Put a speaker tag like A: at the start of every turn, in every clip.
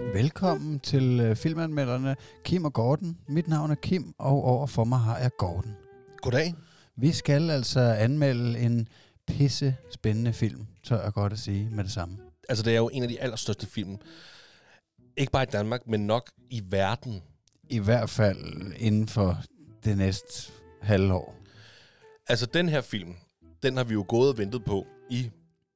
A: velkommen til øh, filmanmelderne Kim og Gordon. Mit navn er Kim, og over for mig har jeg Gordon.
B: Goddag.
A: Vi skal altså anmelde en pisse spændende film, tør jeg godt at sige med det samme.
B: Altså, det er jo en af de allerstørste film. Ikke bare i Danmark, men nok i verden.
A: I hvert fald inden for det næste halvår.
B: Altså, den her film, den har vi jo gået og ventet på i...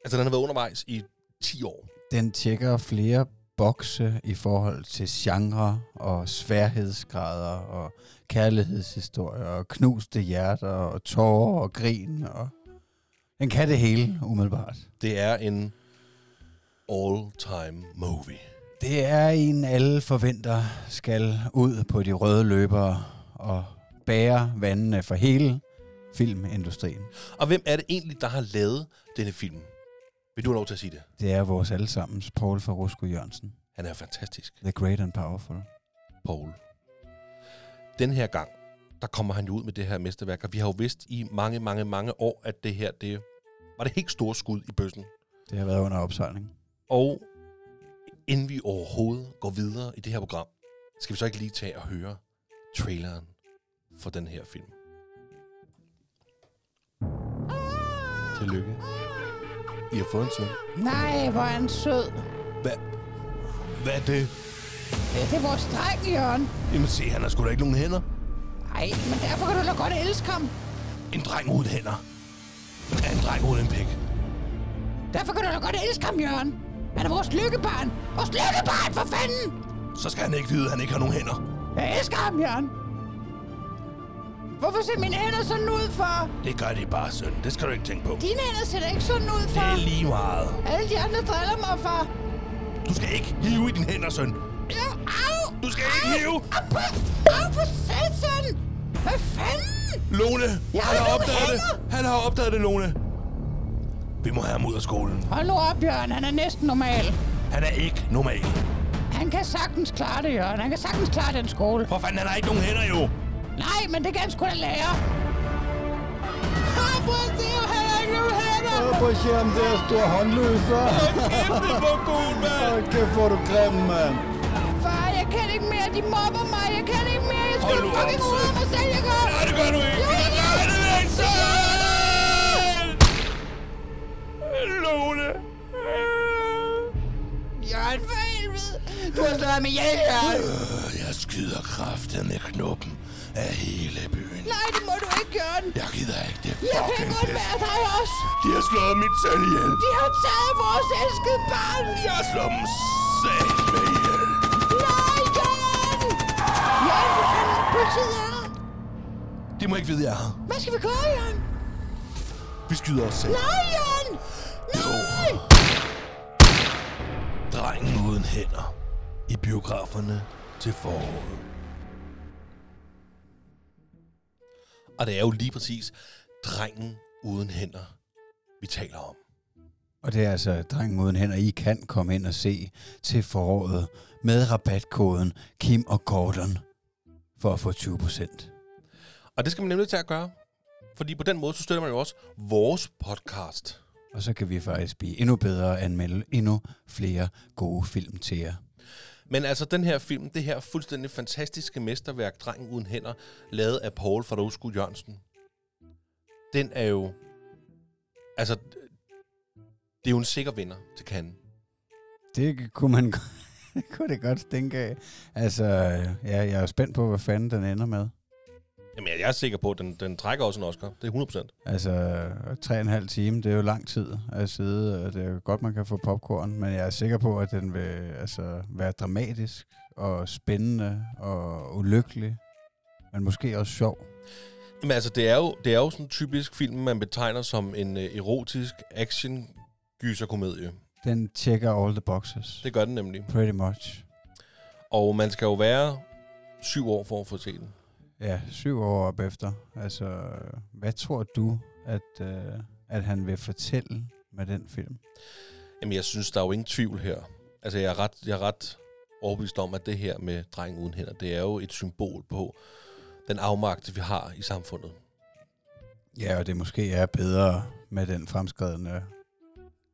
B: Altså, den har været undervejs i 10 år.
A: Den tjekker flere bokse i forhold til genre og sværhedsgrader og kærlighedshistorier og knuste hjerter og tårer og grin og... Den kan det hele, umiddelbart.
B: Det er en all-time movie.
A: Det er en, alle forventer skal ud på de røde løbere og bære vandene for hele filmindustrien.
B: Og hvem er det egentlig, der har lavet denne film? Vil du have lov til at sige det?
A: Det er vores allesammens Paul Farusko Jørgensen,
B: Han er fantastisk,
A: The Great and Powerful.
B: Paul. Den her gang, der kommer han jo ud med det her mesterværk, og vi har jo vidst i mange, mange, mange år, at det her, det var det helt store skud i bøssen.
A: Det har været under opsejling.
B: Og inden vi overhovedet går videre i det her program, skal vi så ikke lige tage og høre traileren for den her film. Tillykke. I har fået en søn.
C: Nej, hvor er han sød.
B: Hvad? Hvad er det?
C: Ja, det er vores dreng, Jørgen.
B: Jamen se, han har sgu da ikke nogen hænder.
C: Nej, men derfor kan du da godt elske ham.
B: En dreng uden hænder. Er en dreng uden en pik.
C: Derfor kan du da godt elske ham, Jørgen. Han er vores lykkebarn. Vores lykkebarn, for fanden!
B: Så skal han ikke vide, at han ikke har nogen hænder.
C: Jeg elsker ham, Jørgen. Hvorfor ser mine hænder sådan ud for?
B: Det gør det bare, søn. Det skal du ikke tænke på.
C: Dine hænder ser da ikke sådan ud for.
B: lige meget.
C: Alle de andre driller mig for.
B: Du skal ikke hive i dine hænder, søn.
C: Ja, au!
B: Du skal ikke hive.
C: Au, au, au for satan! Hvad fanden?
B: Lone,
C: Jeg
B: han har
C: har nogle
B: opdaget det.
C: hænder.
B: Han har opdaget det, Lone. Vi må have ham ud af skolen.
C: Hold nu op, Jørgen. Han er næsten normal.
B: Han er ikke normal.
C: Han kan sagtens klare det, Jørgen. Han kan sagtens klare den skole.
B: For fanden, han har ikke nogen hænder jo.
C: Nej, men det kan han sgu da lære. Prøv at se, han har ikke nogen hænder.
D: Prøv at se ham der store håndløser.
B: Kæft, det var god, mand.
D: Hold kæft, hvor er du grim, mand.
C: Far, jeg kan ikke mere. De mobber mig. Jeg kan ikke mere. Jeg skal
B: Hold nu op,
C: fucking ud
B: søn.
C: af mig selv, jeg gør.
B: Nej, det gør du ikke.
C: Jo, jeg gør.
B: Nej, det vil jeg ikke sige. Lone.
C: Jørgen, for helvede. Du har slået ham ihjel, Jørgen.
B: Øh, Jeg skyder kraften med knoppen af hele byen.
C: Nej, det må du ikke, Jørgen.
B: Jeg gider ikke det
C: Jeg kan
B: fucking
C: godt
B: pis.
C: være dig også.
B: De har slået mit søn ihjel.
C: De har taget vores elskede barn.
B: Jeg har slået dem satme ihjel.
C: Nej, Jørgen. Jørgen, for fanden. Politiet er der.
B: De må ikke vide, jeg er her.
C: Hvad skal vi gøre, Jørgen?
B: Vi skyder os selv.
C: Nej, Jørgen. Nej.
B: Drengen uden hænder i biograferne til foråret. Og det er jo lige præcis drengen uden hænder, vi taler om.
A: Og det er altså Drengen Uden Hænder, I kan komme ind og se til foråret med rabatkoden Kim og Gordon for at få 20%.
B: Og det skal man nemlig til at gøre. Fordi på den måde, så støtter man jo også vores podcast.
A: Og så kan vi faktisk blive endnu bedre og anmelde endnu flere gode film til jer.
B: Men altså, den her film, det her fuldstændig fantastiske mesterværk, Drengen uden hænder, lavet af Paul Fadosku Jørgensen, den er jo... Altså, det er jo en sikker vinder til Cannes.
A: Det kunne man det kunne det godt stinke af. Altså, ja, jeg er spændt på, hvad fanden den ender med.
B: Jamen, jeg er sikker på, at den, den trækker også en Oscar. Det er 100%.
A: Altså, tre og en halv time, det er jo lang tid at sidde, og det er jo godt, man kan få popcorn, men jeg er sikker på, at den vil altså, være dramatisk og spændende og ulykkelig, men måske også sjov.
B: Jamen, altså, det er jo, det er jo sådan en typisk film, man betegner som en øh, erotisk action gyserkomedie.
A: Den tjekker all the boxes.
B: Det gør den nemlig.
A: Pretty much.
B: Og man skal jo være syv år for at få set den.
A: Ja, syv år op efter. Altså, hvad tror du, at, øh, at han vil fortælle med den film?
B: Jamen, jeg synes, der er jo ingen tvivl her. Altså, jeg er ret, jeg er ret overbevist om, at det her med dreng uden hænder, det er jo et symbol på den afmagt, vi har i samfundet.
A: Ja, og det måske er bedre med den fremskredende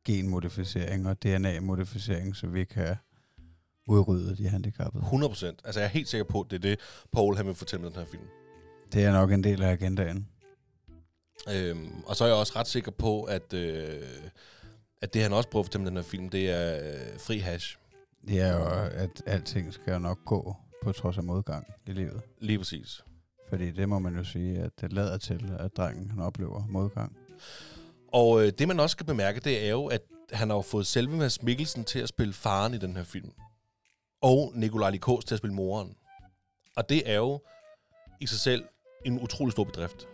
A: genmodificering og DNA-modificering, så vi kan udryddet de handicappede.
B: 100 procent. Altså, jeg er helt sikker på, at det er det, Paul han vil fortælle med den her film.
A: Det er nok en del af agendaen.
B: Øhm, og så er jeg også ret sikker på, at, øh, at det, han også prøver at fortælle med den her film, det er øh, fri hash.
A: Det er jo, at alting skal jo nok gå på trods af modgang i livet.
B: Lige præcis.
A: Fordi det må man jo sige, at det lader til, at drengen han oplever modgang.
B: Og øh, det, man også skal bemærke, det er jo, at han har jo fået selve Mads Mikkelsen til at spille faren i den her film. Og Nikolaj Likos til at spille moren. Og det er jo i sig selv en utrolig stor bedrift.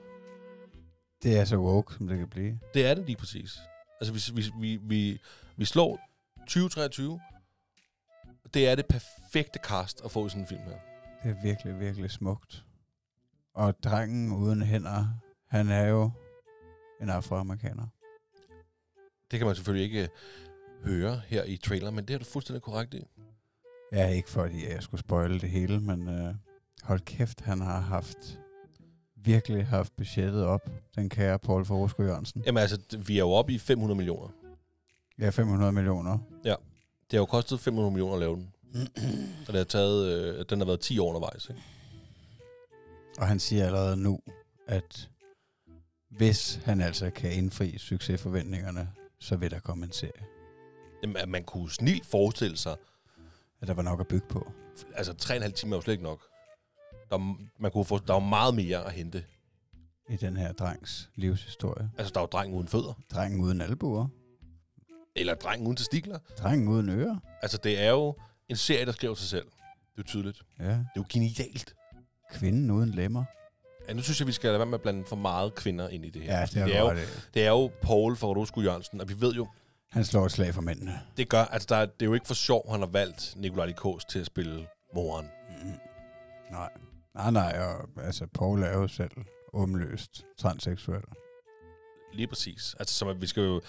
A: Det er så woke, som det kan blive.
B: Det er det lige præcis. Altså, vi, vi, vi, vi, vi slår 2023. Det er det perfekte cast at få i sådan en film her.
A: Det er virkelig, virkelig smukt. Og drengen uden hænder, han er jo en afroamerikaner.
B: Det kan man selvfølgelig ikke øh, høre her i traileren, men det er du fuldstændig korrekt i.
A: Ja, ikke fordi jeg skulle spoile det hele, men øh, hold kæft, han har haft virkelig haft budgettet op, den kære Paul Forsko Jørgensen.
B: Jamen altså, d- vi er jo oppe i 500 millioner.
A: Ja, 500 millioner.
B: Det har jo kostet 500 millioner at lave den. og det har taget, øh, den har været 10 år undervejs. Ikke?
A: Og han siger allerede nu, at hvis han altså kan indfri succesforventningerne, så vil der komme en serie.
B: Jamen, at man kunne snilt forestille sig,
A: At der var nok at bygge på.
B: altså 3,5 timer er jo slet ikke nok. Der, er m- man kunne få, der er jo meget mere at hente.
A: i den her drengs livshistorie.
B: Altså, der er jo dreng uden fødder,
A: Drengen uden albuer.
B: eller dreng uden testikler.
A: Drengen uden ører.
B: Altså, det er jo en serie, der skriver sig selv. Det er jo tydeligt.
A: Ja.
B: Det er jo genialt.
A: Kvinden uden lemmer.
B: Ja, nu synes jeg, vi skal lade være med at blande for meget kvinder ind i det her.
A: Ja,
B: Fordi
A: det er,
B: det, er jo,
A: det.
B: det er jo Paul fra Rosku Jørgensen, og vi ved jo,
A: Han slår et slag for mændene.
B: det gør, altså der, er- det er jo ikke for sjov, han har valgt Nikolaj Likos til at spille moren.
A: Mm. Nej. Nej, nej. Og, altså, Paul er jo selv åbenløst transseksuel.
B: Lige præcis. Altså, som at vi skal jo...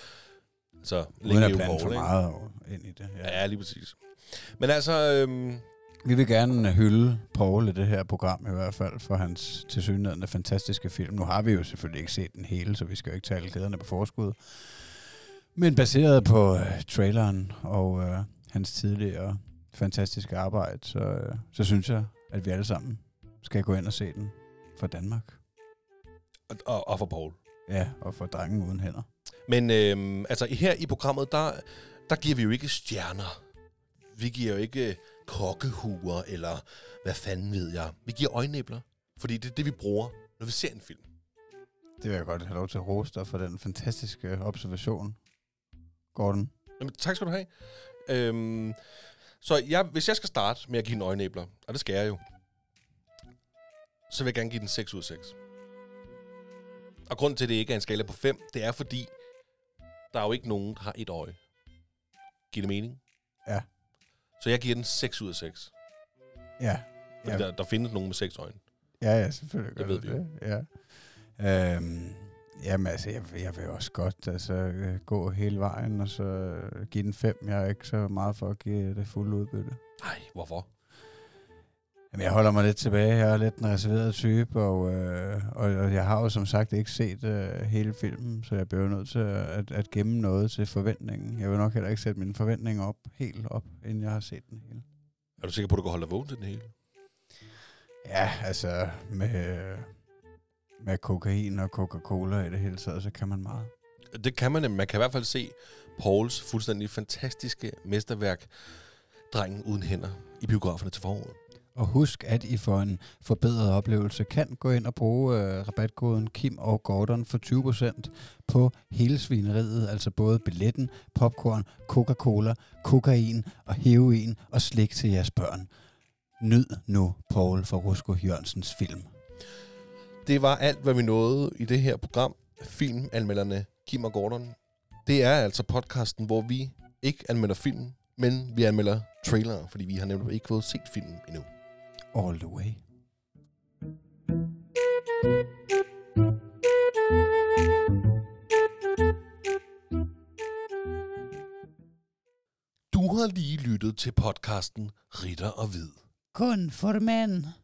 B: Altså,
A: Uden
B: længe
A: at
B: leve
A: blande for
B: Paul, ikke?
A: meget ind i det. Ja.
B: Ja, lige præcis. Men altså, øhm,
A: Vi vil gerne øh, hylde Paul i det her program i hvert fald for hans tilsyneladende fantastiske film. Nu har vi jo selvfølgelig ikke set den hele, så vi skal jo ikke tale glæderne på forskud. Men baseret på øh, traileren og øh, hans tidligere fantastiske arbejde, så, øh, så synes jeg, at vi alle sammen skal gå ind og se den for Danmark.
B: og, og, og for Paul.
A: Ja, og for drengen uden hænder.
B: Men øhm, altså, her i programmet, der, der giver vi jo ikke stjerner. Vi giver jo ikke øh, kokkehuer, eller hvad fanden ved jeg. Vi giver øjenæbler, fordi det er det, vi bruger, når vi ser en film.
A: Det vil jeg godt have lov til at roste dig for den fantastiske observation, Gordon.
B: Jamen, tak skal du have. Øhm, så jeg, hvis jeg skal starte med at give den øjenæbler, og det skal jeg jo, så vil jeg gerne give den 6 ud af 6. Og grunden til, at det ikke er en skala på 5, det er fordi, der er jo ikke nogen, der har et øje. Giver det mening?
A: Ja.
B: Så jeg giver den 6 ud af 6.
A: Ja, Ja.
B: Fordi ja. der, der findes nogen med 6 øjne.
A: Ja, ja, selvfølgelig gør
B: Det
A: det
B: ved
A: det. Ja. Øhm, jamen altså, jeg, jeg vil også godt altså, øh, gå hele vejen, og så øh, give den fem. Jeg er ikke så meget for at give det fulde udbytte.
B: Nej, hvorfor?
A: Jamen, jeg holder mig lidt tilbage. Jeg er lidt en reserveret type, og, øh, og, og jeg har jo som sagt ikke set øh, hele filmen, så jeg bliver jo nødt til at, at gemme noget til forventningen. Jeg vil nok heller ikke sætte mine forventninger op helt op, inden jeg har set den hele.
B: Er du sikker på, at du kan holde dig vågen til den hele?
A: Ja, altså med, med kokain og Coca-Cola i det hele taget, så kan man meget.
B: Det kan man nemlig. Man kan i hvert fald se Pauls fuldstændig fantastiske mesterværk, Drengen uden hænder, i biograferne til foråret.
A: Og husk, at I for en forbedret oplevelse kan gå ind og bruge øh, rabatkoden Kim og Gordon for 20% på hele svineriet, altså både billetten, popcorn, Coca-Cola, kokain og heroin og slik til jeres børn. Nyd nu Paul fra Rusko Jørgensens film.
B: Det var alt, hvad vi nåede i det her program. Filmanmelderne Kim og Gordon. Det er altså podcasten, hvor vi ikke anmelder filmen, men vi anmelder trailere, fordi vi har nemlig ikke fået set filmen endnu.
A: All the way.
B: Du har lige lyttet til podcasten Ritter og Hvid.
A: Kun for mænd.